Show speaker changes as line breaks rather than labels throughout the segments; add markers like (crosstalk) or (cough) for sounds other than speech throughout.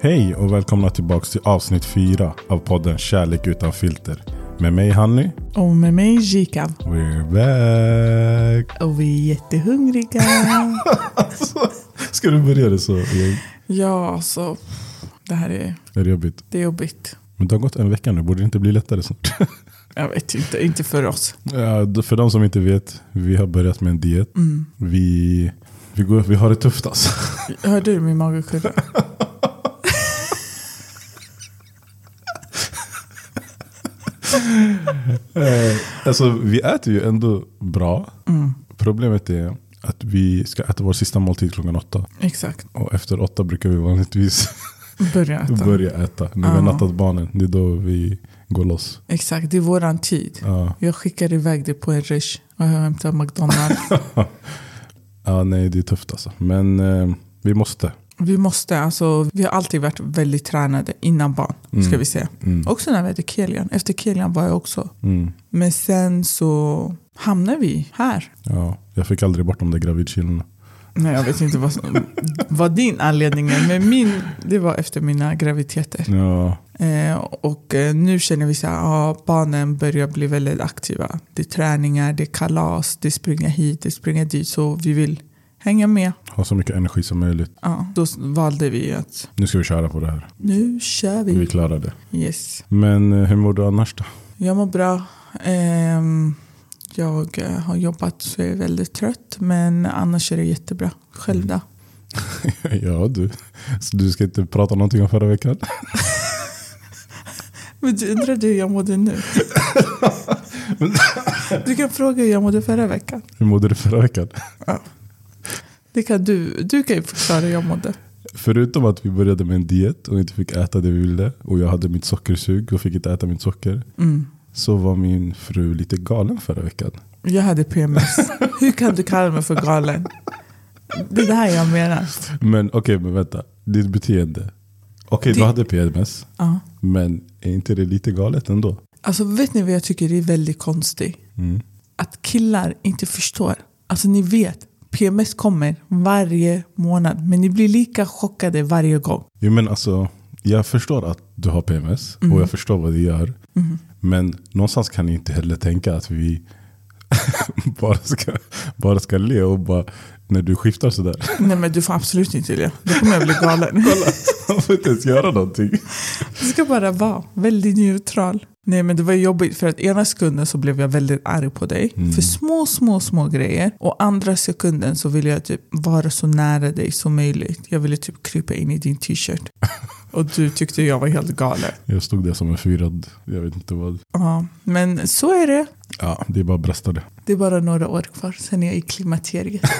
Hej och välkomna tillbaka till avsnitt fyra av podden Kärlek utan filter. Med mig Hanny.
Och med mig Jikan.
We're back. (laughs)
Och vi är jättehungriga.
Ska du börja det så? igen?
(laughs) ja, så det här är,
Är det jobbigt?
det är jobbigt.
Men det har gått en vecka nu, borde det inte bli lättare snart? (laughs)
Jag vet inte, inte för oss.
Ja, d- för de som inte vet, vi har börjat med en diet. Vi, vi, går, vi har det tufft alltså.
Hörde du min (laughs) magkurva?
Eh, (laughs) alltså vi äter ju ändå bra.
Mm.
Problemet är att vi ska äta vår sista måltid klockan åtta.
Exakt.
Och efter åtta brukar vi vanligtvis
Börja äta.
börja äta. När vi har
Ja.
nattat barnen, det är då vi går loss.
Exakt, det är våran tid.
Ja,
Jag skickar iväg det på en rush och jag hämtar McDonalds.
(laughs) Ja, nej det är tufft alltså. Men eh, vi måste.
Vi måste, alltså, vi har alltid varit väldigt tränade innan barn, ska vi säga.
Mm.
Också när vi hade Kelian. Efter Kelian var jag också.
Mm.
Men sen så hamnar vi här.
Ja, jag fick aldrig bort de där gravidkilorna.
Nej, jag vet inte vad, som- vad din anledning är, men min, det var efter mina graviditeter.
Ja,
Eh, och eh, nu känner vi så här, ja, barnen börjar bli väldigt aktiva. Det är träningar, det är kalas, det är springa hit, det är springa dit. Så vi vill hänga med.
ha så mycket energi som möjligt.
Ja, då s- valde vi att
Nu ska vi köra på det här.
nu kör
Vi
vi.
klarar det.
Yes.
Men eh, hur mår du annars då? (laughs)
Jag mår bra. Ehm, jag eh, har jobbat så jag är väldigt trött, men annars är det jättebra. Själv då?
ja du, så du ska inte prata någonting om förra veckan? (laughs)
Men du undrar du hur jag mådde nu? Du kan fråga hur jag mådde förra veckan.
Hur mådde du förra veckan? (laughs)
Det kan du, du kan ju förklara hur jag mådde.
Förutom att vi började med en diet och inte fick äta det vi ville och jag hade mitt sockersug och fick inte äta mitt socker
Mm.
så var min fru lite galen förra veckan.
Jag hade PMS. Hur kan du kalla mig för galen? Det är det här jag menar.
Men okej, men vänta. Ditt beteende. Okej, du
Det-
hade PMS,
Ja.
men är inte det lite galet ändå?
Alltså, vet ni vad jag tycker är väldigt konstigt?
Mm.
Att killar inte förstår. Alltså ni vet, PMS kommer varje månad men ni blir lika chockade varje gång.
Jo, men alltså, jag förstår att du har PMS och jag förstår vad det gör. Men någonstans kan ni inte heller tänka att vi (laughs) bara, ska, bara ska le och bara när du skiftar sådär. (laughs)
Nej men du får absolut inte det. Då kommer jag bli galen.
Kolla, man får inte ens göra någonting.
Det ska bara vara väldigt neutral. Nej men det var jobbigt för att ena sekunden så blev jag väldigt arg på dig
Mm.
för små, små, små grejer. Och andra sekunden så ville jag typ vara så nära dig som möjligt. Jag ville typ krypa in i
(laughs)
din t-shirt. Och du tyckte jag var helt galen.
Jag stod där som en firad, jag vet inte vad.
Ja, men så är det.
Ja, det är bara att brösta det.
Det är bara några år kvar, sen är jag i klimakteriet.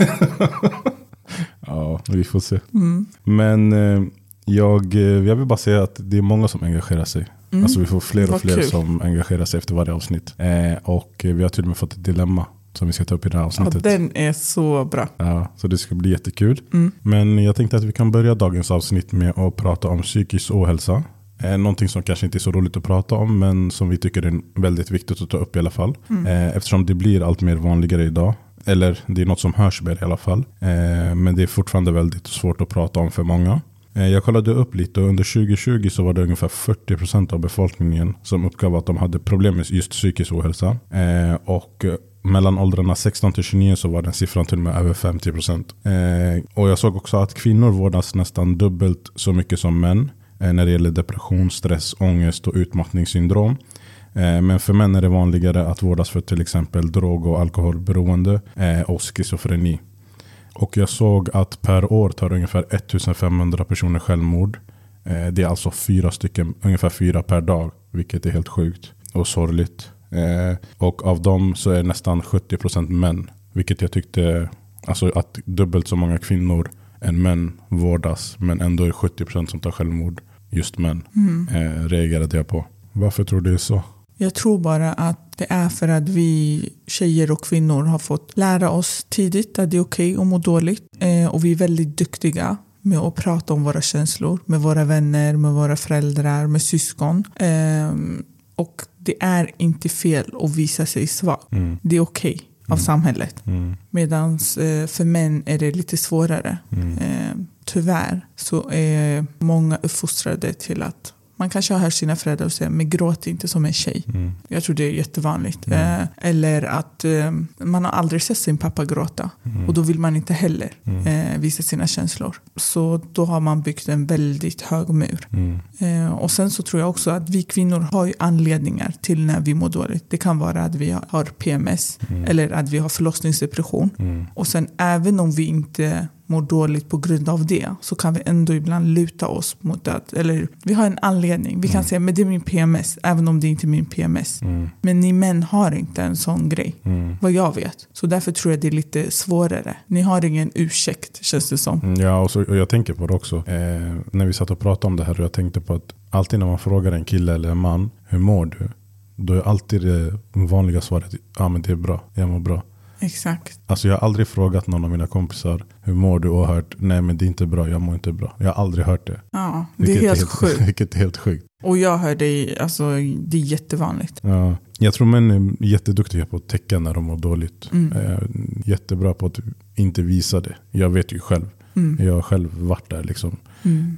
Ja, vi får se.
Mm.
Men eh, jag, eh, jag vill bara säga att det är många som engagerar sig. Alltså vi får fler och
Mm. Vad
fler
kul.
som engagerar sig efter varje avsnitt. Eh, och eh, vi har till och med fått ett dilemma som vi ska ta upp i det här
Ja,
avsnittet.
den är så bra. Mm.
Ja, så det ska bli jättekul. Men jag tänkte att vi kan börja dagens avsnitt med att prata om psykisk ohälsa. Eh, Någonting som kanske inte är så roligt att prata om men som vi tycker är väldigt viktigt att ta upp i alla fall.
Mm.
Eh, Eftersom det blir allt mer vanligare idag. Eller det är något som hörs mer i alla fall. Eh, Men det är fortfarande väldigt svårt att prata om för många. Eh, Jag kollade upp lite och under 2020 så var det ungefär 40% av befolkningen som uppgav att de hade problem med just psykisk ohälsa. Eh, Och eh, mellan åldrarna 16 till 29 så var den siffran till och med över 50 procent. Eh, och jag såg också att kvinnor vårdas nästan dubbelt så mycket som män eh, när det gäller depression, stress, ångest och utmattningssyndrom. Eh, men för män är det vanligare att vårdas för till exempel drog och alkoholberoende eh, och schizofreni. Och jag såg att per år tar ungefär 1500 personer självmord. Eh, Det är alltså fyra stycken, ungefär fyra per dag, vilket är helt sjukt och sorgligt. Eh, Och av dem så är nästan 70% män, vilket jag tyckte, alltså att dubbelt så många kvinnor än män vårdas, men ändå är 70% som tar självmord just män,
Mm.
eh, reagerade jag på. Varför tror du det är så?
Jag tror bara att det är för att vi tjejer och kvinnor har fått lära oss tidigt att det är okej att må dåligt. Eh, och vi är väldigt duktiga med att prata om våra känslor med våra vänner, med våra föräldrar, med syskon. Eh, och det är inte fel att visa sig svag.
Mm.
Det är okej av samhället.
Mm.
Medan eh, för män är det lite svårare,
Mm.
eh, tyvärr så är många uppfostrade till att man kanske har hört sina föräldrar säga men gråt inte som en tjej.
Mm.
Jag tror det är jättevanligt. Eh, eller att eh, man har aldrig sett sin pappa gråta
Mm.
och då vill man inte heller eh, visa sina känslor. Så då har man byggt en väldigt hög mur.
Mm.
Eh, och sen så tror jag också att vi kvinnor har ju anledningar till när vi mår dåligt. Det kan vara att vi har PMS eller att vi har förlossningsdepression.
Mm.
Och sen även om vi inte mår dåligt på grund av det så kan vi ändå ibland luta oss mot att, eller vi har en anledning. Vi kan säga men det är min PMS, även om det inte är min PMS.
Mm.
Men ni män har inte en sån grej,
Mm.
vad jag vet. Så därför tror jag det är lite svårare. Ni har ingen ursäkt, känns det som.
Mm, Ja, och, så, och jag tänker på det också. Eh, när vi satt och pratade om det här och jag tänkte på att alltid när man frågar en kille eller en man, hur mår du? Då är alltid det vanliga svaret, ja ah, men det är bra, jag mår bra.
Exakt.
Alltså jag har aldrig frågat någon av mina kompisar, hur mår du? Och hört, nej men det är inte bra, jag mår inte bra. Jag har aldrig hört det.
Ja, det är
Vilket
helt
(laughs)
sjukt.
Vilket är helt sjukt.
Och jag hör dig, alltså det är jättevanligt.
Ja. Jag tror män är jätteduktiga på att täcka när de mår dåligt.
Mm.
Eh, jättebra på att inte visa det. Jag vet ju själv.
Mm,
Jag har själv varit där liksom.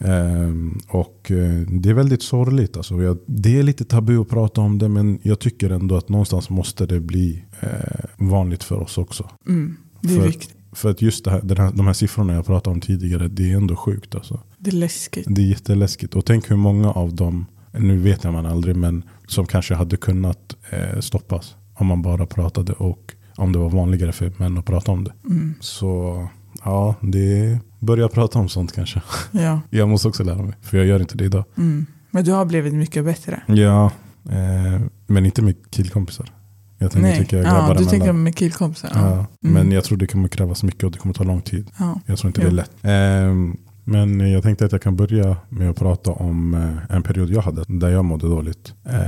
Ehm, och eh, det är väldigt sorgligt. Alltså. Jag, det är lite tabu att prata om det men jag tycker ändå att någonstans måste det bli eh, vanligt för oss också.
Mm. Det är
för,
viktigt.
För att just det här, den här, de här siffrorna jag pratade om tidigare, det är ändå sjukt alltså.
Det är läskigt.
Det är jätteläskigt. Och tänk hur många av dem, nu vet man aldrig, men som kanske hade kunnat eh, stoppas om man bara pratade och om det var vanligare för män att prata om det.
Mm.
Så ja, det är, börja prata om sånt kanske. (laughs)
Ja.
Jag måste också lära mig, för jag gör inte det idag.
Mm. Men du har blivit mycket bättre.
Ja, eh, men inte med killkompisar. Jag tänker att jag tycker jag grabbar
ja, du tänker
emellan.
med killkompisar.
ja.
Ja. Mm.
Men jag tror det kommer krävas mycket och det kommer ta lång tid.
Ja.
Jag tror inte
Jo.
det är lätt. Ehm, men jag tänkte att jag kan börja med att prata om eh, en period jag hade där jag mådde dåligt. Ehm,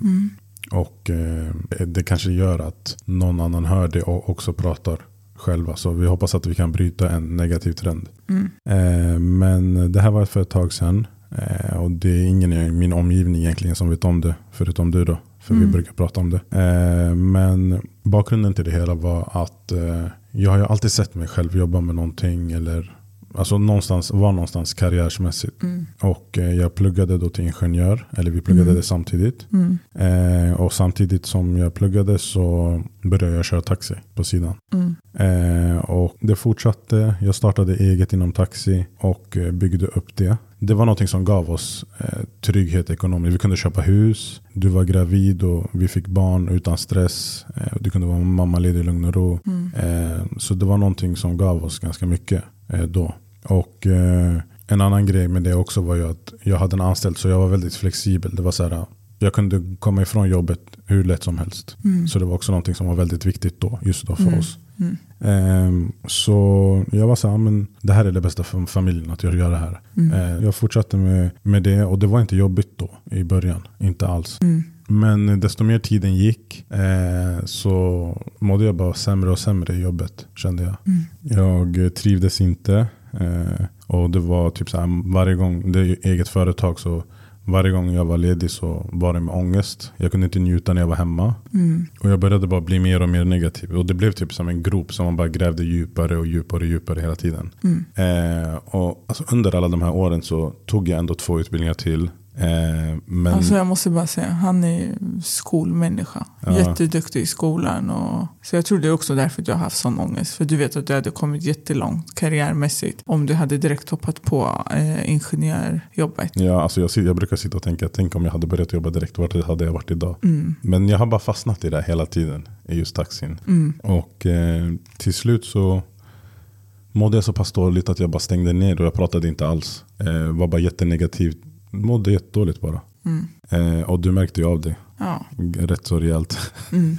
Mm.
och eh, det kanske gör att någon annan hör det och också pratar själva. Så vi hoppas att vi kan bryta en negativ trend.
Mm.
Eh, Men det här var för ett tag sedan. eh, Och det är ingen i min omgivning egentligen som vet om det, förutom du då. För vi
Mm.
brukar prata om det. Eh, Men bakgrunden till det hela var att eh, jag har ju alltid sett mig själv jobba med någonting. Eller, alltså någonstans, var någonstans karriärsmässigt.
Mm.
Och eh, jag pluggade då till ingenjör, eller vi pluggade
Mm.
det samtidigt.
Mm.
Eh, Och samtidigt som jag pluggade så började jag köra taxi på sidan.
Mm.
Eh, och det fortsatte. Jag startade eget inom taxi och eh, byggde upp det. Det var någonting som gav oss eh, trygghet ekonomiskt. Vi kunde köpa hus, du var gravid och vi fick barn utan stress. Eh, och du kunde vara mammaledig i lugn och ro.
Mm.
Eh, så det var någonting som gav oss ganska mycket eh, då. Och eh, en annan grej med det också var ju att jag hade en anställd så jag var väldigt flexibel. Det var så här, ah, jag kunde komma ifrån jobbet hur lätt som helst.
Mm.
Så det var också någonting som var väldigt viktigt då, just då för
Mm.
oss.
Mm.
Ehm, Så jag var så här, men det här är det bästa för familjen att jag gör det här.
Mm.
Ehm, Jag fortsatte med, med det och det var inte jobbigt då i början. Inte alls.
Mm.
Men desto mer tiden gick eh, så mådde jag bara sämre och sämre i jobbet kände jag.
Mm.
Jag trivdes inte. eh, Och det var typ så här, varje gång, det är ju eget företag så varje gång jag var ledig så var det med ångest. Jag kunde inte njuta när jag var hemma.
Mm.
Och jag började bara bli mer och mer negativ. Och det blev typ som en grop som man bara grävde djupare och djupare och djupare hela tiden.
Mm.
Eh, och alltså under alla de här åren så tog jag ändå två utbildningar till. Eh, men
Alltså jag måste bara säga, han är skolmänniska.
Ja.
Jätteduktig i skolan. Och, så jag tror det är också därför du har haft sån ångest. För du vet att du hade kommit jättelångt karriärmässigt om du hade direkt hoppat på eh, ingenjörjobbet.
ja, alltså jag, sit- jag brukar sitta och tänka, tänk om jag hade börjat jobba direkt, vart hade jag varit idag?
Mm.
Men jag har bara fastnat i det här hela tiden, i just taxin.
Mm.
Och eh, till slut så mådde jag så pass dåligt att jag bara stängde ner och jag pratade inte alls. Eh, var bara jättenegativ, mådde jättedåligt bara.
Mm.
Eh, och du märkte ju av det.
Ja.
rätt så rejält.
Mm.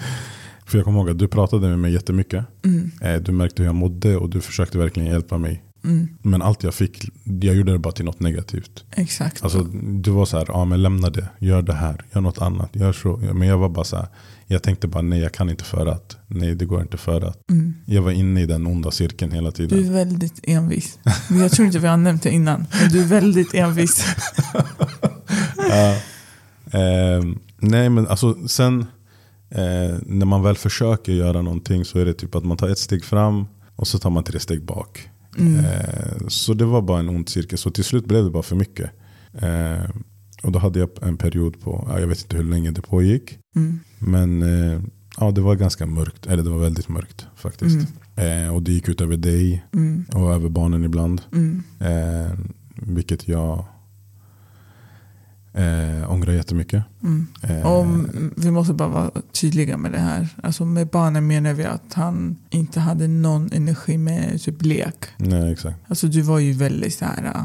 För jag kommer ihåg att du pratade med mig jättemycket.
Mm.
Eh, Du märkte hur jag mådde och du försökte verkligen hjälpa mig.
Mm.
Men allt jag fick, jag gjorde det bara till något negativt.
Exakt.
Alltså, du var så här, ja men lämna det, gör det här, gör något annat, gör så. Ja, Men jag var bara så här, jag tänkte bara nej jag kan inte för att, nej det går inte för att.
Mm.
Jag var inne i den onda cirkeln hela
Du
tiden.
är väldigt envis. Men Jag tror inte vi har nämnt det innan. Men du är
(laughs)
väldigt envis.
Ehm, nej men alltså sen eh, när man väl försöker göra någonting så är det typ att man tar ett steg fram och så tar man tre steg bak.
Mm.
Eh, Så det var bara en ond cirkel. Så till slut blev det bara för mycket. Eh, Och då hade jag en period på, ja, jag vet inte hur länge det pågick.
Mm.
Men eh, ja, det var ganska mörkt, eller det var väldigt mörkt faktiskt. Eh, Och det gick ut över dig
Mm.
och över barnen ibland.
Mm.
Eh, Vilket jag eh, ångrar jättemycket.
Mm.
Eh,
Och vi måste bara vara tydliga med det här. Alltså med barnen menar vi att han inte hade någon energi med typ lek.
Nej, exakt.
Alltså du var ju väldigt så här, äh,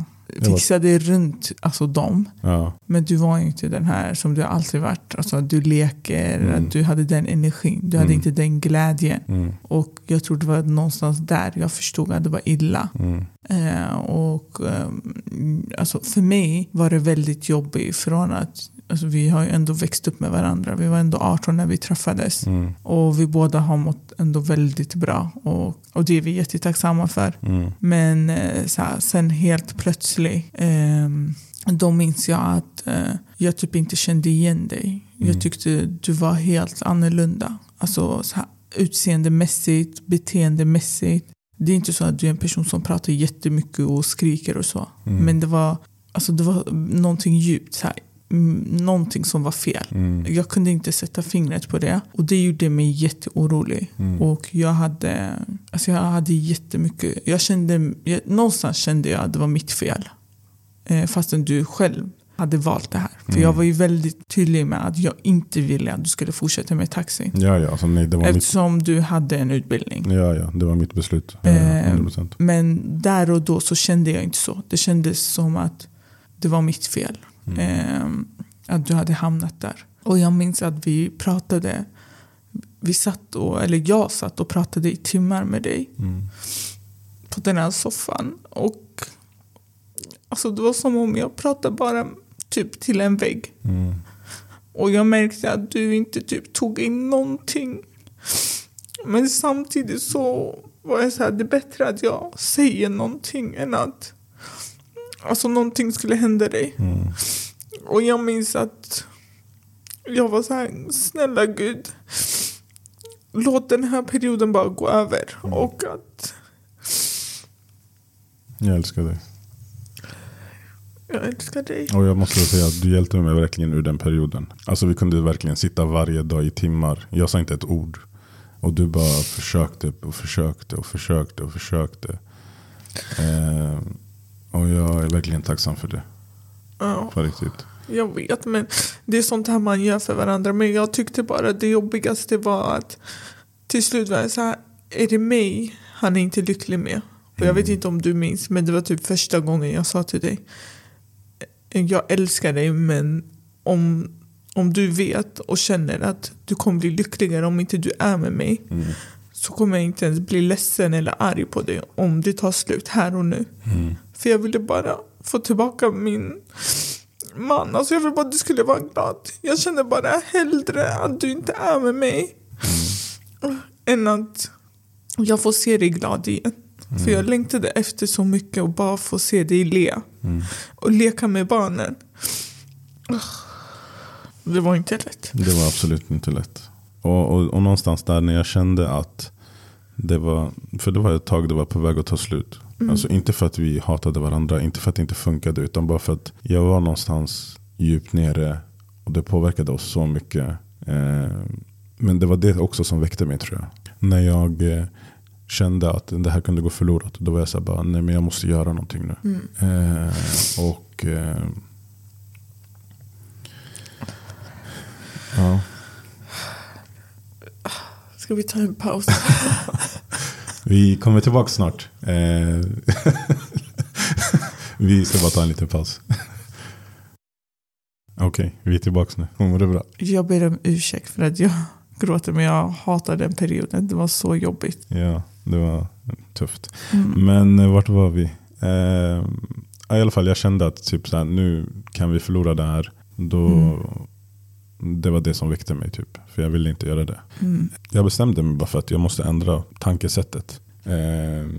var-
fixade runt alltså dem.
Ja,
Men du var ju inte den här som du alltid varit. Alltså att du leker,
Mm.
att du hade den energin. Du hade
Mm.
inte den glädjen.
mm,
Och jag tror det var någonstans där jag förstod att det var illa.
mm,
Eh, och eh, alltså för mig var det väldigt jobbigt från att alltså vi har ju ändå växt upp med varandra. Vi var ändå 18 när vi träffades.
mm,
Och vi båda har mått ändå väldigt bra. Och, och det är vi jättetacksamma för.
mm,
Men eh, så här, sen helt plötsligt, ehm, då minns jag att eh, jag typ inte kände igen dig.
Mm.
Jag tyckte du var helt annorlunda. Alltså så här, utseendemässigt, beteendemässigt. Det är inte så att du är en person som pratar jättemycket och skriker och så.
Mm.
Men det var, alltså, det var någonting djupt, så här, mm, någonting som var fel.
mm,
Jag kunde inte sätta fingret på det och det gjorde mig jätteorolig.
Mm.
Och jag hade, alltså jag hade jättemycket, jag kände, jag, någonstans kände jag att det var mitt fel. Eh, fastän du själv hade valt det här. För
Mm.
jag var ju väldigt tydlig med att jag inte ville att du skulle fortsätta med taxi.
Ja, ja, alltså, nej, det var mitt,
Eftersom du hade en utbildning.
ja, ja, det var mitt beslut. Ja,
Eh,
100%.
Men där och då så kände jag inte så. Det kändes som att det var mitt fel.
Mm.
Ehm, att du hade hamnat där. Och jag minns att vi pratade. Vi satt och, eller jag satt och pratade i timmar med dig
Mm.
på den här soffan. Och alltså det var som om jag pratade bara typ till en vägg.
Mm.
Och jag märkte att du inte typ tog in någonting. Men samtidigt så var jag så här, det är bättre att jag säger någonting än att alltså någonting skulle hända dig.
Mm.
Och jag minns att jag var så här, snälla gud. Låt den här perioden bara gå över. Och att
Jag älskar dig.
jag älskar dig.
Och jag måste säga att du hjälpte mig verkligen ur den perioden. Alltså vi kunde verkligen sitta varje dag i timmar. Jag sa inte ett ord. Och du bara försökte och försökte och försökte och försökte. Eh, och jag är verkligen tacksam för det.
Ja.
På riktigt.
Jag vet, men det är sånt här man gör för varandra. Men jag tyckte bara att det jobbigaste var att till slut var jag så här, är det mig han är inte lycklig med? Och jag vet inte om du minns, men det var typ första gången jag sa till dig, eh, jag älskar dig, men om, om du vet och känner att du kommer bli lyckligare om inte du är med mig,
Mm,
så kommer jag inte ens bli ledsen eller arg på dig om det tar slut här och nu.
mm,
För jag ville bara få tillbaka min man. Alltså jag ville bara att du skulle vara glad. Jag kände bara hellre att du inte är med mig än att jag får se dig glad igen. För jag längtade efter så mycket och bara få se dig le.
mm.
Och leka med barnen. Det var inte lätt.
Det var absolut inte lätt. Och, och, och någonstans där när jag kände att det var, för det var ett tag det var på väg att ta slut. Alltså inte för att vi hatade varandra, inte för att det inte funkade, utan bara för att jag var någonstans djupt nere och det påverkade oss så mycket. Eh, men det var det också som väckte mig tror jag. När jag eh, kände att det här kunde gå förlorat, då var jag så här bara, nej men jag måste göra någonting nu. Eh, och eh, ja,
Ska vi ta en paus?
Vi kommer tillbaka snart. Eh, (laughs) vi ska bara ta en liten paus. (laughs) Okej, vi är tillbaka nu. Hon mår det bra.
Jag ber om ursäkt för att jag gråter men jag hatar den perioden. Det var så jobbigt.
Ja, det var tufft. Men eh, vart var vi? Eh, ja, I alla fall, jag kände att typ så här, nu kan vi förlora det här. Då, Det var det som väckte mig, typ. för jag ville inte göra det.
Mm.
Jag bestämde mig bara för att jag måste ändra tankesättet. Eh,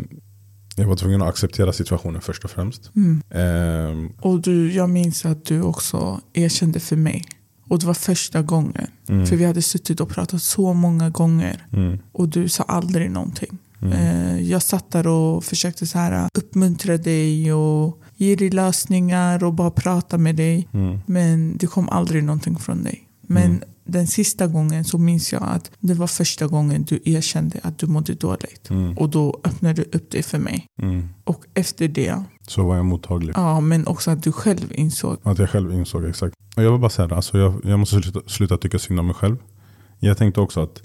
jag var tvungen att acceptera situationen först och främst.
Mm.
Eh,
Och du, jag minns att du också erkände för mig. Och det var första gången. För vi hade suttit och pratat så många gånger.
Mm.
Och du sa aldrig någonting. Eh, Jag satt där och försökte så här, äh, uppmuntra dig och ge dig lösningar och bara prata med dig.
Mm.
Men det kom aldrig någonting från dig. Men den sista gången så minns jag att det var första gången du erkände att du mådde dåligt.
Mm.
Och då öppnade du upp dig för mig.
Mm.
Och efter det,
Så var jag mottaglig.
ja men också att du själv insåg.
Att jag själv insåg exakt. Och jag var bara så här, alltså jag, jag måste sluta, sluta tycka synd om mig själv. Jag tänkte också att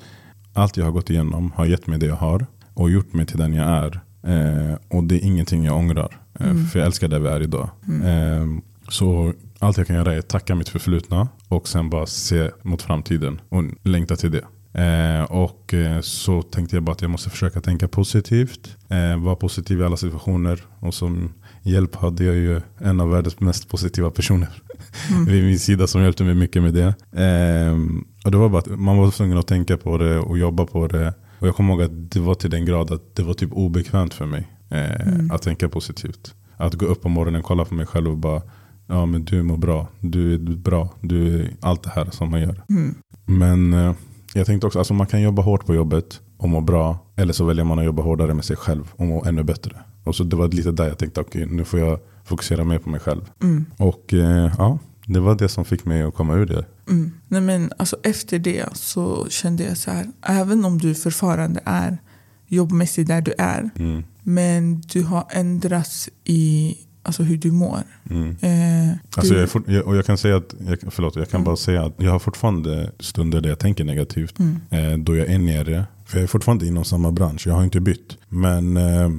allt jag har gått igenom har gett mig det jag har och gjort mig till den jag är. Eh, och det är ingenting jag ångrar. Eh,
Mm.
För jag älskar där vi är idag. Eh, så allt jag kan göra är att tacka mitt förflutna och sen bara se mot framtiden och längta till det. Eh, och eh, så tänkte jag bara att jag måste försöka tänka positivt. Eh, vara positiv i alla situationer. Och som hjälp hade jag ju en av världens mest positiva personer (laughs) vid min sida som hjälpte mig mycket med det. Ehm, och det var bara att man var tvungen att tänka på det och jobba på det. Och jag kommer ihåg att det var till den grad att det var typ obekvämt för mig eh, att tänka positivt. Att gå upp på morgonen och kolla på mig själv och bara Ja men du mår bra, du är bra, du är allt det här som man gör.
mm,
Men eh, jag tänkte också, alltså man kan jobba hårt på jobbet och må bra. Eller så väljer man att jobba hårdare med sig själv och må ännu bättre. Och så det var lite där jag tänkte, okej nu får jag fokusera mer på mig själv.
mm,
Och eh, ja, det var det som fick mig att komma ur det.
Mm. Nej, men alltså, efter det så kände jag så här, även om du fortfarande är jobbmässigt där du är,
Mm,
men du har ändrats i alltså, hur du mår.
mm.
Eh,
Alltså
du,
jag, är fort, jag, och jag kan säga att, jag, förlåt, jag kan bara säga att jag har fortfarande stunder där jag tänker negativt.
Mm.
Eh, då jag är nere. För jag är fortfarande inom samma bransch, jag har inte bytt. Men eh,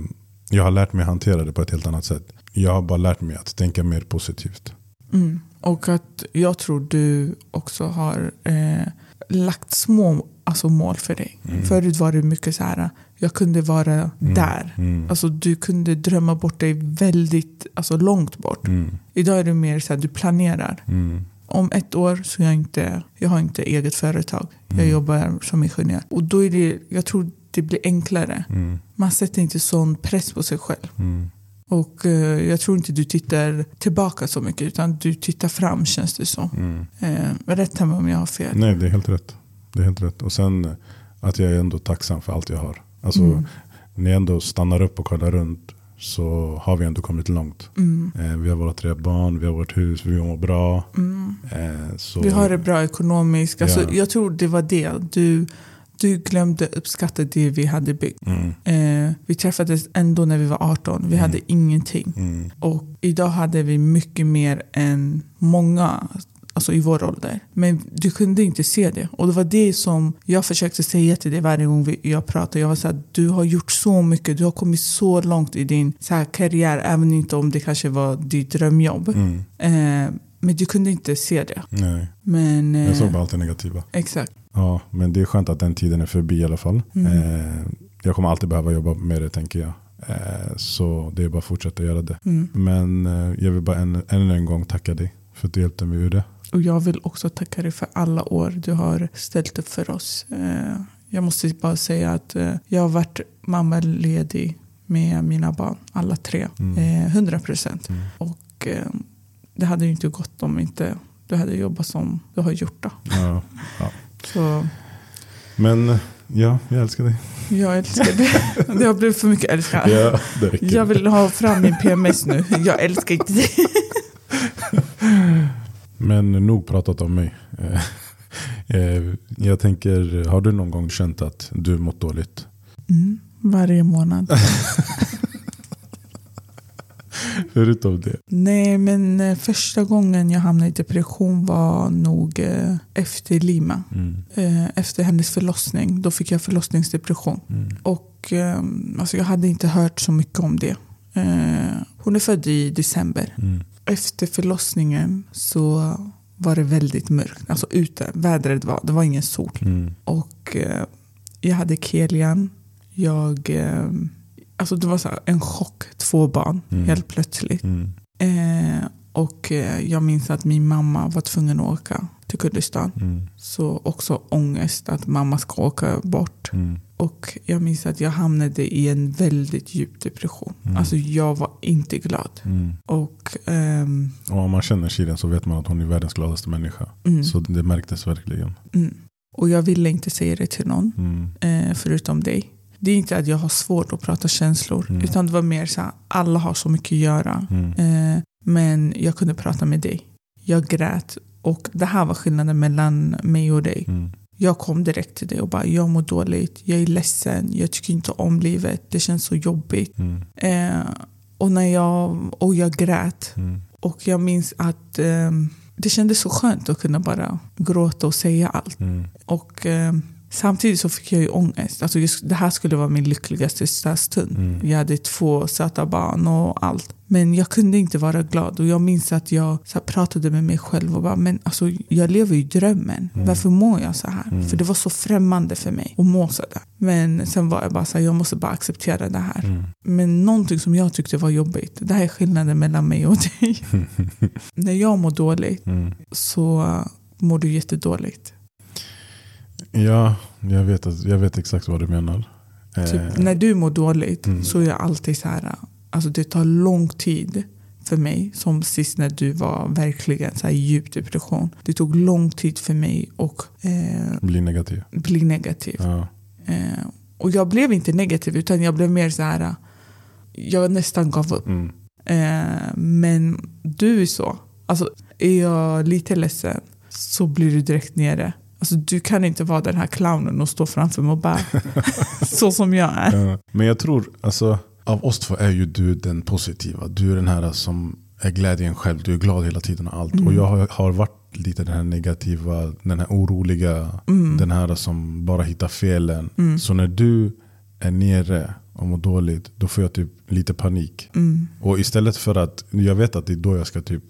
jag har lärt mig hantera det på ett helt annat sätt. Jag har bara lärt mig att tänka mer positivt.
mm. Och att jag tror du också har eh, lagt små alltså, mål för dig. Förut var det mycket så här, jag kunde vara där.
Mm. Mm.
Alltså, du kunde drömma bort dig väldigt alltså, långt bort.
Mm.
Idag är det mer så här, du planerar.
Mm.
Om ett år så är jag inte, jag har inte eget företag. Jag
Mm.
jobbar som ingenjör. Och då är det, jag tror det blir enklare.
Mm.
Man sätter inte sån press på sig själv.
Mm.
Och eh, jag tror inte du tittar tillbaka så mycket utan du tittar fram känns det som.
Mm.
Eh, rätta mig om jag har fel.
Nej, det är helt rätt. Det är helt rätt. Och sen eh, att jag är ändå tacksam för allt jag har. Alltså,
Mm.
När jag ändå stannar upp och kollar runt så har vi ändå kommit långt.
Mm.
Eh, vi har våra tre barn, vi har vårt hus, vi mår bra. Eh, så,
Mm. Vi har det bra ekonomiskt. Alltså,
Ja.
Jag tror det var det. Du, du glömde uppskatta det vi hade byggt.
Mm,
Eh, vi träffades ändå när vi var 18. Vi hade ingenting.
mm,
Och idag hade vi mycket mer än många alltså i vår ålder. Men du kunde inte se det. Och det var det som jag försökte säga till dig varje gång vi- jag pratade. Jag var så här, du har gjort så mycket. Du har kommit så långt i din så här, karriär. Även inte om det kanske var ditt drömjobb.
mm.
Eh, men du kunde inte se det.
Nej,
Men, eh,
jag såg bara allt det negativa.
Exakt.
Ja, men det är skönt att den tiden är förbi i alla fall.
Mm.
Eh, jag kommer alltid behöva jobba med det tänker jag. Eh, så det är bara att fortsätta göra det.
Mm.
Men eh, jag vill bara än, än en gång tacka dig för att du hjälpte mig ur det.
Och jag vill också tacka dig för alla år du har ställt upp för oss. Eh, Jag måste bara säga att eh, jag har varit mammaledig med mina barn, alla tre.
Mm.
Eh, 100 procent.
Mm.
Och eh, det hade ju inte gått om inte du hade jobbat som du har gjort. Då.
Ja.
Så
Men eh, ja, jag älskar
(laughs)
dig.
jag älskar dig. Det har blivit för mycket älskar.
Ja, (laughs) det räcker.
Jag vill ha fram min PMS nu. Jag älskar inte dig.
Men nog pratat om mig. Eh, (laughs) eh, jag tänker, har du någon gång känt att du mått dåligt?
Mm, varje månad.
Förutom det.
Nej, men eh, första gången jag hamnade i depression var nog eh, efter Lima.
Mm.
Eh, efter hennes förlossning. Då fick jag förlossningsdepression.
Mm.
Och eh, alltså jag hade inte hört så mycket om det. Eh, hon är född i december.
Mm.
Efter förlossningen så var det väldigt mörkt. Alltså ute. Vädret var, det var ingen sol.
Mm.
Och eh, jag hade Kelian. Jag, eh, alltså det var så här en chock. Två barn
Mm.
helt plötsligt.
Mm.
Eh, och eh, jag minns att min mamma var tvungen att åka till Kurdistan.
Mm.
Så också ångest att mamma ska åka bort.
Mm.
Och jag minns att jag hamnade i en väldigt djup depression.
Mm.
Alltså jag var inte glad.
Mm.
Och ehm,
Och om man känner Shirin så vet man att hon är världens gladaste människa.
mm,
Så det märktes verkligen.
mm. Och jag ville inte säga det till någon,
Mm.
eh, förutom dig. Det är inte att jag har svårt att prata känslor.
Mm.
Utan det var mer så här, alla har så mycket att göra.
Mm.
Eh, men jag kunde prata med dig. Jag grät. Och det här var skillnaden mellan mig och dig.
Mm.
Jag kom direkt till dig och bara, jag mår dåligt, jag är ledsen, jag tycker inte om livet, det känns så jobbigt.
Mm.
Eh, och, när jag, och jag grät.
Mm.
Och jag minns att ehm, det kändes så skönt att kunna bara gråta och säga allt.
Mm.
Och ehm, samtidigt så fick jag ju ångest. Alltså just, det här skulle vara min lyckligaste så här stund.
Mm.
Jag hade två söta barn och allt. Men jag kunde inte vara glad. Och jag minns att jag så här, pratade med mig själv och bara, men alltså jag lever ju i drömmen. Varför mår jag så här? För det var så främmande för mig att må så där. Men sen var jag bara så här, jag måste bara acceptera det här.
Mm.
Men någonting som jag tyckte var jobbigt, det här är skillnaden mellan mig och dig. (laughs) När jag mår dåligt
Mm. (laughs)
så eh, mår du jättedåligt.
Ja, jag vet, att- jag vet exakt vad du menar.
Typ,
Eh,
när du mår dåligt
Mm.
så är jag alltid så här, alltså det tar lång tid för mig, som sist när du var verkligen så här i djup depression. Det tog lång tid för mig att eh,
Bli negativ.
bli negativ.
Ja.
Eh, och jag blev inte negativ utan jag blev mer så här, eh, jag nästan gav upp.
Mm.
Eh, men du är så. Alltså, är jag lite ledsen så blir du direkt nere. Alltså, du kan inte vara den här clownen och stå framför mig
(laughs)
och bara så som jag är.
Eh, Men jag tror, alltså, av oss två är ju du den positiva. Du är den här som är glädjen själv. Du är glad hela tiden och allt. Och jag har, har varit lite den här negativa, den här oroliga, den här som bara hittar felen.
Mm.
Så när du är nere och mår dåligt, då får jag typ lite panik.
Mm.
Och istället för att, jag vet att det är då jag ska typ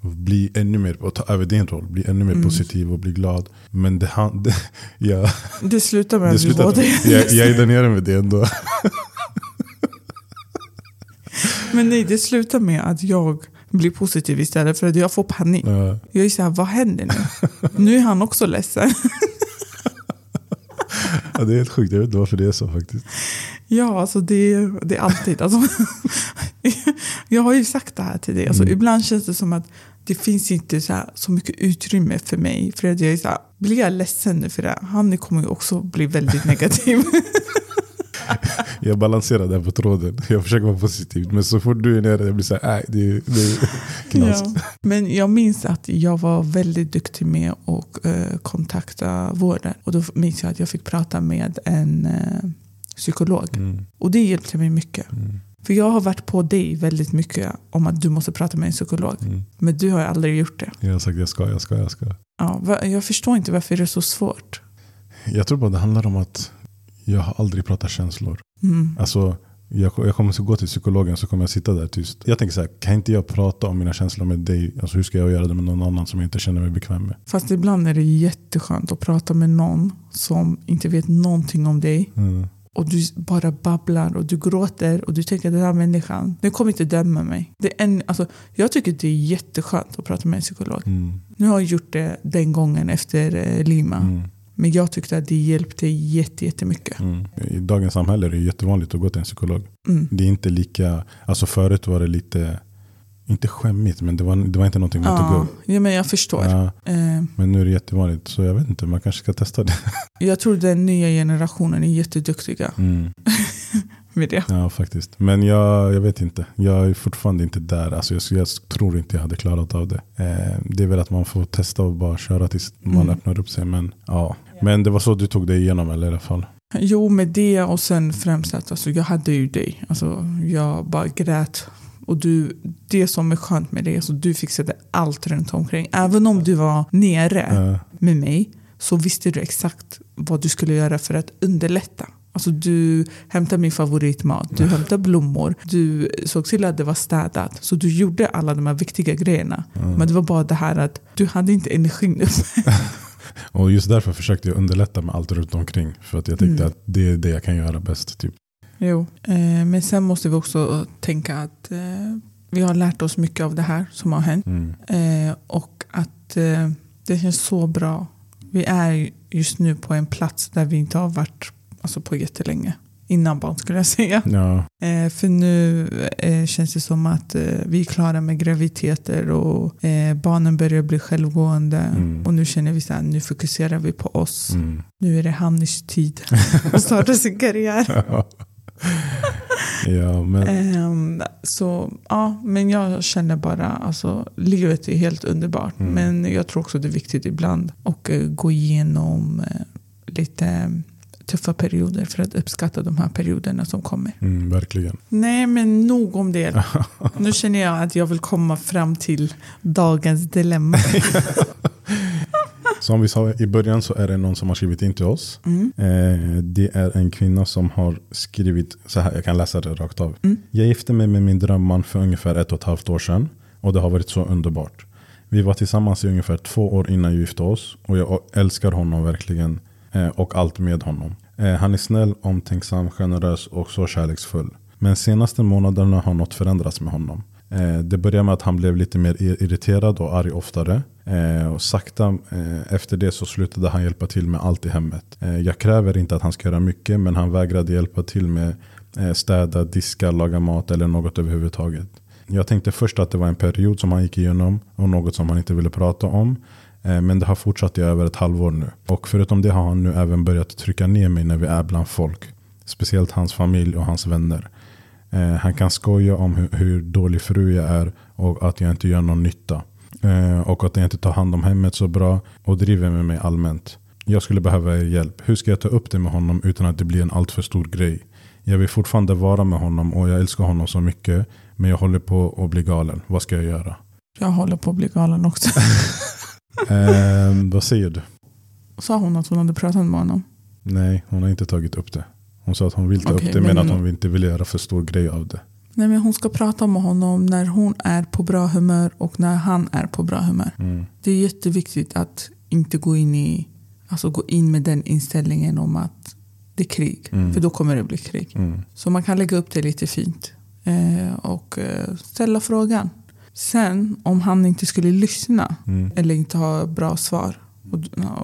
bli ännu mer, och ta över din roll, bli ännu mer positiv och bli glad. Men det, han, (laughs) det, jag,
Det slutar med
det
att vi
slutar,
båda
jag, jag är där nere med det ändå.
(laughs) Men nej, det slutar med att jag blir positiv istället för att jag får panik.
Ja.
Jag är så här, vad
(laughs)
händer nu? Nu är han också ledsen. (laughs)
Ja, det är helt sjukt, jag vet inte varför det är så faktiskt.
Ja, alltså det, det är alltid. Alltså, (laughs) jag har ju sagt det här till dig.
Mm.
Alltså, Ibland känns det som att det finns inte så, här, så mycket utrymme för mig. För att jag är så här, blir jag ledsen nu för det här? Han kommer ju också bli väldigt negativ.
Jag balanserar där på tråden. Jag försöker vara positiv. Men så fort du är nere, jag blir så här, nej, det är, det är knas.
ja. Men jag minns att jag var väldigt duktig med att eh, kontakta vården. Och då minns jag att jag fick prata med en eh, psykolog.
Mm,
Och det hjälpte mig mycket.
mm,
För jag har varit på dig väldigt mycket om att du måste prata med en psykolog.
mm.
Men du har ju aldrig gjort det.
Jag har sagt, jag ska, jag ska, jag ska.
Ja, va- jag förstår inte varför det är så svårt.
Jag tror bara det handlar om att jag har aldrig pratat känslor.
Mm.
Alltså, jag, jag kommer så gå till psykologen så kommer jag sitta där tyst. Jag tänker så här, kan inte jag prata om mina känslor med dig? Alltså hur ska jag göra det med någon annan som jag inte känner mig bekväm med?
Fast ibland är det jätteskönt att prata med någon som inte vet någonting om dig
Mm.
och du bara babblar och du gråter och du tänker den här människan, den kommer inte döma mig. Det är en, alltså, jag tycker det är jätteskönt att prata med en psykolog.
Mm.
Nu har jag gjort det den gången efter eh, Lima,
Mm.
men jag tyckte att det hjälpte jätte- jättemycket.
Mm. I dagens samhälle är det jättevanligt att gå till en psykolog.
Mm.
Det är inte lika, alltså förut var det lite, inte skämmigt men det var, det var inte någonting man tog
Ja,
upp.
ja, men jag förstår.
Ja,
Eh,
men nu är det jättevanligt så jag vet inte, man kanske ska testa det.
jag tror den nya generationen är jätteduktiga med det.
Ja faktiskt. Men jag, jag vet inte, jag är fortfarande inte där. Alltså jag, jag tror inte jag hade klarat av det. Eh, det är väl att man får testa och bara köra tills man
Mm.
öppnar upp sig. Men, ja. men det var så du tog dig igenom eller, i alla fall.
Jo, med det och sen främst att alltså, jag hade ju dig. Alltså, jag bara grät. Och du, det som är skönt med det är att du fixade allt runt omkring. Även om du var nere
Eh,
med mig så visste du exakt vad du skulle göra för att underlätta. Alltså du hämtade min favoritmat, du hämtade blommor, du såg till att det var städat. Så du gjorde alla de här viktiga grejerna. Men det var bara det här att du hade inte energin (laughs) uppe.
Och just därför försökte jag underlätta med allt runt omkring. För att jag
Mm.
tänkte att det är det jag kan göra bäst. Typ.
Jo, eh, men sen måste vi också tänka att eh, vi har lärt oss mycket av det här som har hänt.
Mm.
Eh, och att eh, det känns så bra. Vi är ju just nu på en plats där vi inte har varit alltså, på jättelänge. innan barn skulle jag säga.
Ja,
Eh, för nu eh, känns det som att eh, vi är klara med graviditeter och eh, barnen börjar bli självgående.
Mm.
Och nu känner vi så här, nu fokuserar vi på oss.
mm. (laughs)
Nu är det Hannis tid att starta sin karriär.
ja men
Ehm, så ja, men jag känner bara, alltså livet är helt underbart.
Mm.
Men jag tror också det är viktigt ibland att eh, gå igenom eh, lite tuffa perioder för att uppskatta de här perioderna som kommer.
mm, verkligen.
Nej, men nog om (laughs) det. Nu känner jag att jag vill komma fram till dagens dilemma.
Som vi sa i början så är det någon som har skrivit in till oss.
Mm.
Eh, det är en kvinna som har skrivit så här, jag kan läsa det rakt av. Jag gifte mig med min drömman för ungefär ett och ett halvt år sedan och det har varit så underbart. Vi var tillsammans i ungefär två år innan vi gifte oss och jag älskar honom verkligen eh, och allt med honom. Eh, Han är snäll, omtänksam, generös och så kärleksfull. Men senaste månaderna har något förändrats med honom. Eh, Det började med att han blev lite mer ir- irriterad och arg oftare. Eh, Och sakta eh, efter det så slutade han hjälpa till med allt i hemmet. Eh, Jag kräver inte att han ska göra mycket men han vägrade hjälpa till med eh, städa, diska, laga mat eller något överhuvudtaget. Jag tänkte först att det var en period som han gick igenom och något som han inte ville prata om. Eh, Men det har fortsatt i över ett halvår nu. Och förutom det har han nu även börjat trycka ner mig när vi är bland folk. Speciellt hans familj och hans vänner. Eh, Han kan skoja om hur, hur dålig fru jag är och att jag inte gör någon nytta. Eh, Och att jag inte tar hand om hemmet så bra och driver med mig allmänt. Jag skulle behöva er hjälp. Hur ska jag ta upp det med honom utan att det blir en alltför stor grej? Jag vill fortfarande vara med honom och jag älskar honom så mycket. Men jag håller på att bli galen. Vad ska jag (laughs) göra?
Jag håller på att bli galen också.
eh, vad säger du?
(laughs) Sa hon att hon hade pratat med honom?
Nej, hon har inte tagit upp det. Hon sa att hon vill ta
Okej,
upp det men,
men-
att hon inte vill göra för stor grej av det.
Nej, men hon ska prata med honom när hon är på bra humör och när han är på bra humör.
Mm.
Det är jätteviktigt att inte gå in, i, alltså gå in med den inställningen om att det är krig.
Mm.
För då kommer det bli krig.
Mm.
Så man kan lägga upp det lite fint eh, och eh, ställa frågan. Sen om han inte skulle lyssna
Mm.
eller inte ha bra svar och,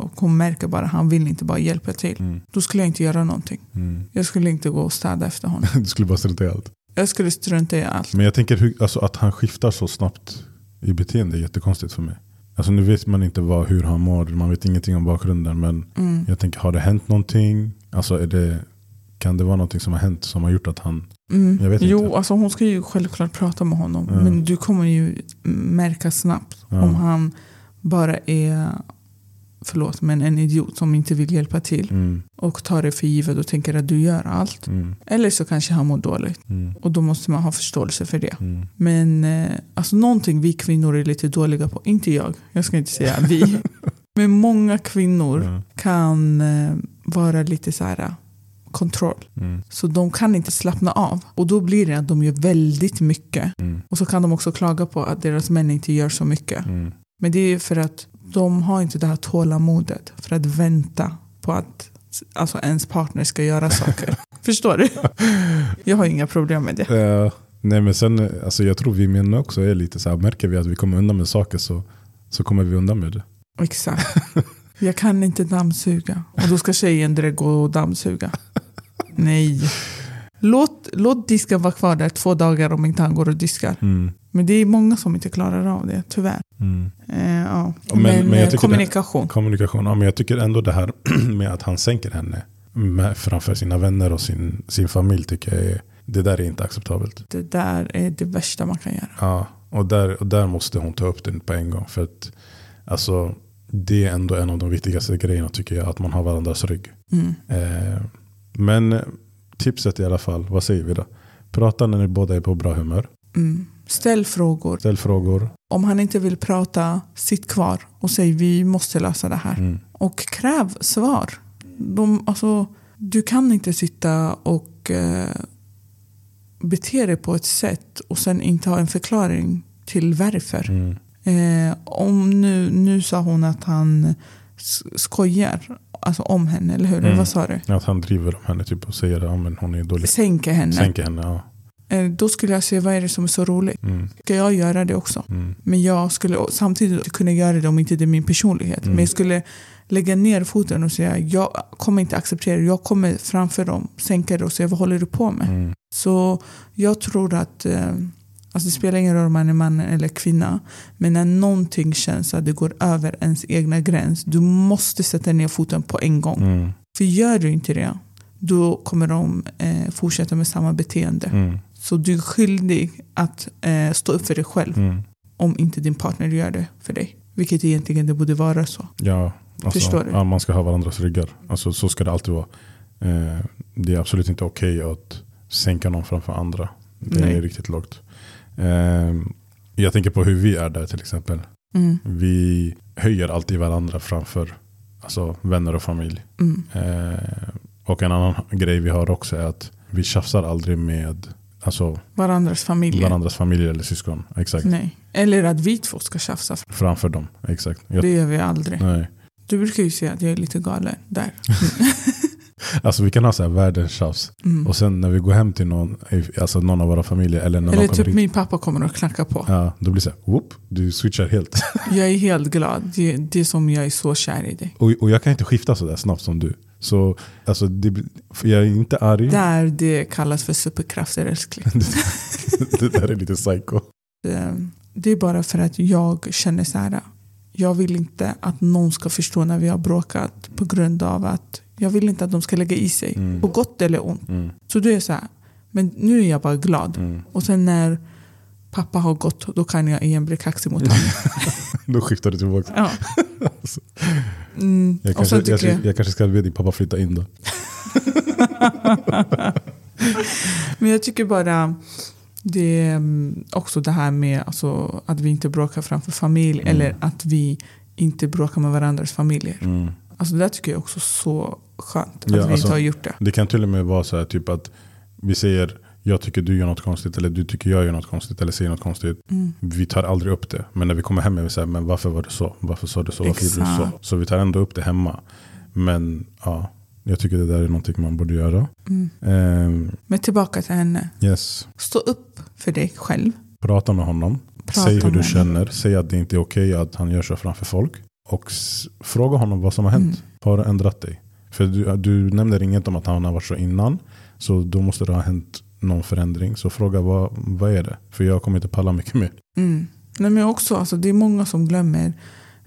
och hon märker bara att han vill inte bara hjälpa till.
Mm.
Då skulle jag inte göra någonting.
Mm.
Jag skulle inte gå och städa efter honom.
(laughs) Du skulle bara strunta i allt.
Jag skulle strunta i allt.
Men jag tänker hur, alltså, att han skiftar så snabbt i beteende är jättekonstigt för mig. Alltså nu vet man inte vad, hur han mår, man vet ingenting om bakgrunden. Men
Mm.
jag tänker, har det hänt någonting? Alltså är det, kan det vara någonting som har hänt som har gjort att han...
Mm.
Jag vet
jo,
inte.
alltså hon ska ju självklart prata med honom.
Ja.
Men du kommer ju märka snabbt
Ja.
om han bara är, förlåt, men en idiot som inte vill hjälpa till
Mm,
och tar det för givet och tänker att du gör allt.
mm,
Eller så kanske han mår dåligt
mm,
och då måste man ha förståelse för det.
mm.
Men eh, alltså någonting vi kvinnor är lite dåliga på, inte jag, jag ska inte säga
(laughs)
vi, men många kvinnor
Ja,
kan eh, vara lite så här eh, kontroll.
mm,
Så de kan inte slappna av. Och då blir det att de gör väldigt mycket.
mm,
Och så kan de också klaga på att deras män inte gör så mycket.
mm,
Men det är för att de har inte det här tålamodet för att vänta på att alltså ens partner ska göra saker. Förstår du? Jag har inga problem med det.
Ja, nej men sen, eh, alltså jag tror vi män också är lite så här, märker vi att vi kommer undan med saker så, så kommer vi undan med det.
Exakt. Jag kan inte dammsuga. Och då ska tjejen direkt gå och dammsuga. Nej. Låt, låt disken vara kvar där två dagar om inte han går och diskar.
Mm,
Men det är många som inte klarar av det, tyvärr.
mm.
Eh, ja.
Men-
Men,
men jag
eh,
tycker
kommunikation.
Kommunikation, ja, men jag tycker ändå det här (clears throat) med att han sänker henne med, framför sina vänner och sin, sin familj tycker jag är, det där är inte acceptabelt.
Det där är det värsta man kan göra.
Ja, och där, och där måste hon ta upp den på en gång för att alltså, det är ändå en av de viktigaste grejerna tycker jag, att man har varandras rygg.
Mm.
Eh, men tipset i alla fall, vad säger vi då? Prata när ni båda är på bra humör.
Mm. Ställ frågor.
Ställ frågor.
Om han inte vill prata, sitt kvar och säg vi måste lösa det här.
Mm.
Och kräv svar. De, alltså, du kan inte sitta och eh, bete dig på ett sätt och sen inte ha en förklaring till varför.
Mm.
Eh, om nu, nu sa hon att han s- skojar alltså om henne, eller hur?
Mm.
Vad sa du?
Att han driver om henne typ, och säger att ja, men hon är dålig.
Sänker henne.
Sänker henne, ja.
eh, då skulle jag se vad är det som är så roligt.
Mm.
Ska jag göra det också?
Mm.
Men jag skulle samtidigt inte kunna göra det om inte det är min personlighet.
Mm.
Men jag skulle lägga ner foten och säga jag kommer inte acceptera det. Jag kommer framför dem, sänka det och säga vad håller du på med?
Mm.
Så jag tror att eh, alltså det spelar ingen roll om man är man eller kvinna. Men när någonting känns att det går över ens egna gräns. Du måste sätta ner foten på en gång.
Mm.
För gör du inte det, då kommer de eh, fortsätta med samma beteende.
Mm.
Så du är skyldig att eh, stå upp för dig själv
Mm.
om inte din partner gör det för dig. Vilket egentligen det borde vara så.
Ja, alltså,
Förstår du?
Ja, man ska ha varandras ryggar. Alltså, så ska det alltid vara. Eh, det är absolut inte okej att sänka någon framför andra. Det
Nej.
är riktigt lågt. Eh, jag tänker på hur vi är där till exempel.
Mm,
Vi höjer alltid varandra framför alltså, vänner och familj.
mm,
Eh, och en annan grej vi har också är att vi tjafsar aldrig med alltså,
varandras familjer.
varandras familjer eller syskon. Exakt.
Nej. Eller att vi två ska tjafsa.
Framför dem. Exakt. Jag,
Det gör vi aldrig.
nej.
Du brukar ju säga att jag är lite galen där.
Alltså vi kan ha så här världens tjafs.
Mm.
Och sen när vi går hem till någon, alltså någon av våra familjer eller när
Eller
någon kommer
typ
hit.
min pappa kommer och knackar på.
Ja, då blir det så här, whoop, du switchar helt. (laughs)
Jag är helt glad. Det, det är som jag är så kär i dig.
Och, och jag kan inte skifta så där snabbt som du. Så alltså, det, blir- för jag är inte arg.
Där det kallas för superkrafter älskling.
(laughs) det där är lite psycho.
Eh, Det är bara för att jag känner så här. Jag vill inte att någon ska förstå när vi har bråkat på grund av att jag vill inte att de ska lägga i sig.
Mm.
På gott eller ont.
Mm,
Så då är jag så här. Men nu är jag bara glad.
mm.
Och sen när pappa har gått då kan jag igen bli kaxig mot
(laughs)
honom.
Då skiftar du tillbaka.
Ja. Mm.
Jag
Och
kanske,
sen
jag,
tycker jag,
jag kanske ska be din pappa flytta in då.
men jag tycker bara det är mm, också det här med alltså, att vi inte bråkar framför familj
Mm.
eller att vi inte bråkar med varandras familjer.
Mm.
Alltså det där tycker jag också så skönt att
Ja,
vi inte
alltså-
har gjort det.
Det kan till och med vara så här typ att vi säger jag tycker du gör något konstigt eller du tycker jag gör något konstigt eller säger något konstigt.
Mm.
Vi tar aldrig upp det. Men när vi kommer hem är vi så här, men varför var det så? Varför sa du så? Varför gjorde du så?
Exakt.
Så vi tar ändå upp det hemma. Men ja, jag tycker det där är någonting man borde göra.
Mm.
Ehm,
Men tillbaka till henne.
yes,
Stå upp för dig själv.
prata med honom.
Prata
Säg hur
med
du
honom.
känner. Säg att det inte är okej att han gör så framför folk. Och s- fråga honom vad som har hänt. Har du ändrat dig? För du, du nämner inget om att han har varit så innan. Så då måste det ha hänt någon förändring. Så fråga vad, vad är det? För jag kommer inte palla mycket mer.
Mm. Nej, men också, alltså, det är många som glömmer.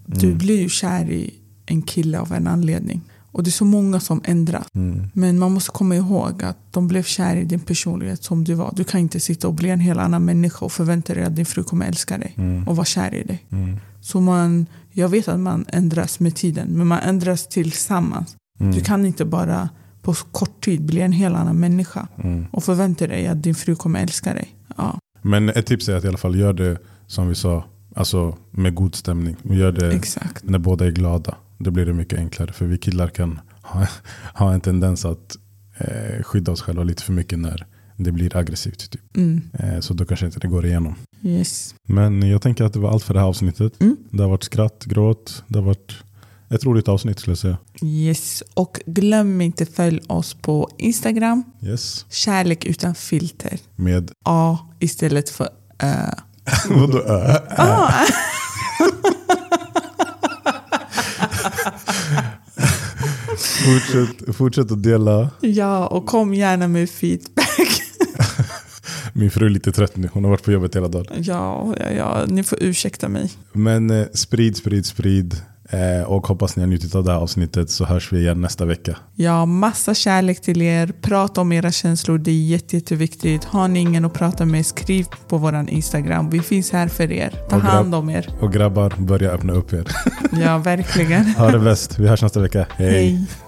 Du
Mm.
blir ju kär i en kille av en anledning. Och det är så många som ändras.
Mm.
Men man måste komma ihåg att de blev kär i din personlighet som du var. Du kan inte sitta och bli en helt annan människa och förvänta dig att din fru kommer älska dig
Mm.
och vara kär i dig.
Mm.
Så man, jag vet att man ändras med tiden, men man ändras tillsammans.
Mm.
Du kan inte bara på så kort tid bli en helt annan människa
Mm.
och förvänta dig att din fru kommer älska dig. Ja,
Men ett tips är att i alla fall gör det som vi sa, alltså med god stämning. Gör det
exakt.
när båda är glada. Då blir det mycket enklare. För vi killar kan ha, (laughs) ha en tendens att eh, skydda oss själva lite för mycket när det blir aggressivt. Typ.
Mm.
Eh, så då kanske inte det går igenom.
Yes.
Men jag tänker att det var allt för det här avsnittet.
Mm.
Det har varit skratt, gråt, det har varit ett roligt avsnitt skulle jag säga.
yes. Och glöm inte följ oss på Instagram,
Yes,
kärlek utan filter.
med (laughs)
A istället för Ö.
vadå ö?
Ah.
Fortsätt, fortsätt att dela.
Ja, och kom gärna med feedback.
Min fru är lite trött nu, hon har varit på jobbet hela dagen.
Ja, ja, ja, ni får ursäkta mig.
Men eh, sprid, sprid, sprid. Eh, och hoppas ni har njutit av det här avsnittet så hörs vi igen nästa vecka.
Ja, massa kärlek till er. Prata om era känslor, det är jätte, jätteviktigt. Har ni ingen att prata med, skriv på vår Instagram. Vi finns här för er. Ta
Och grabb-
hand om er.
Och grabbar, börja öppna upp er.
Ja, verkligen.
Ha det bäst, vi hörs nästa vecka. Hej.
Hej.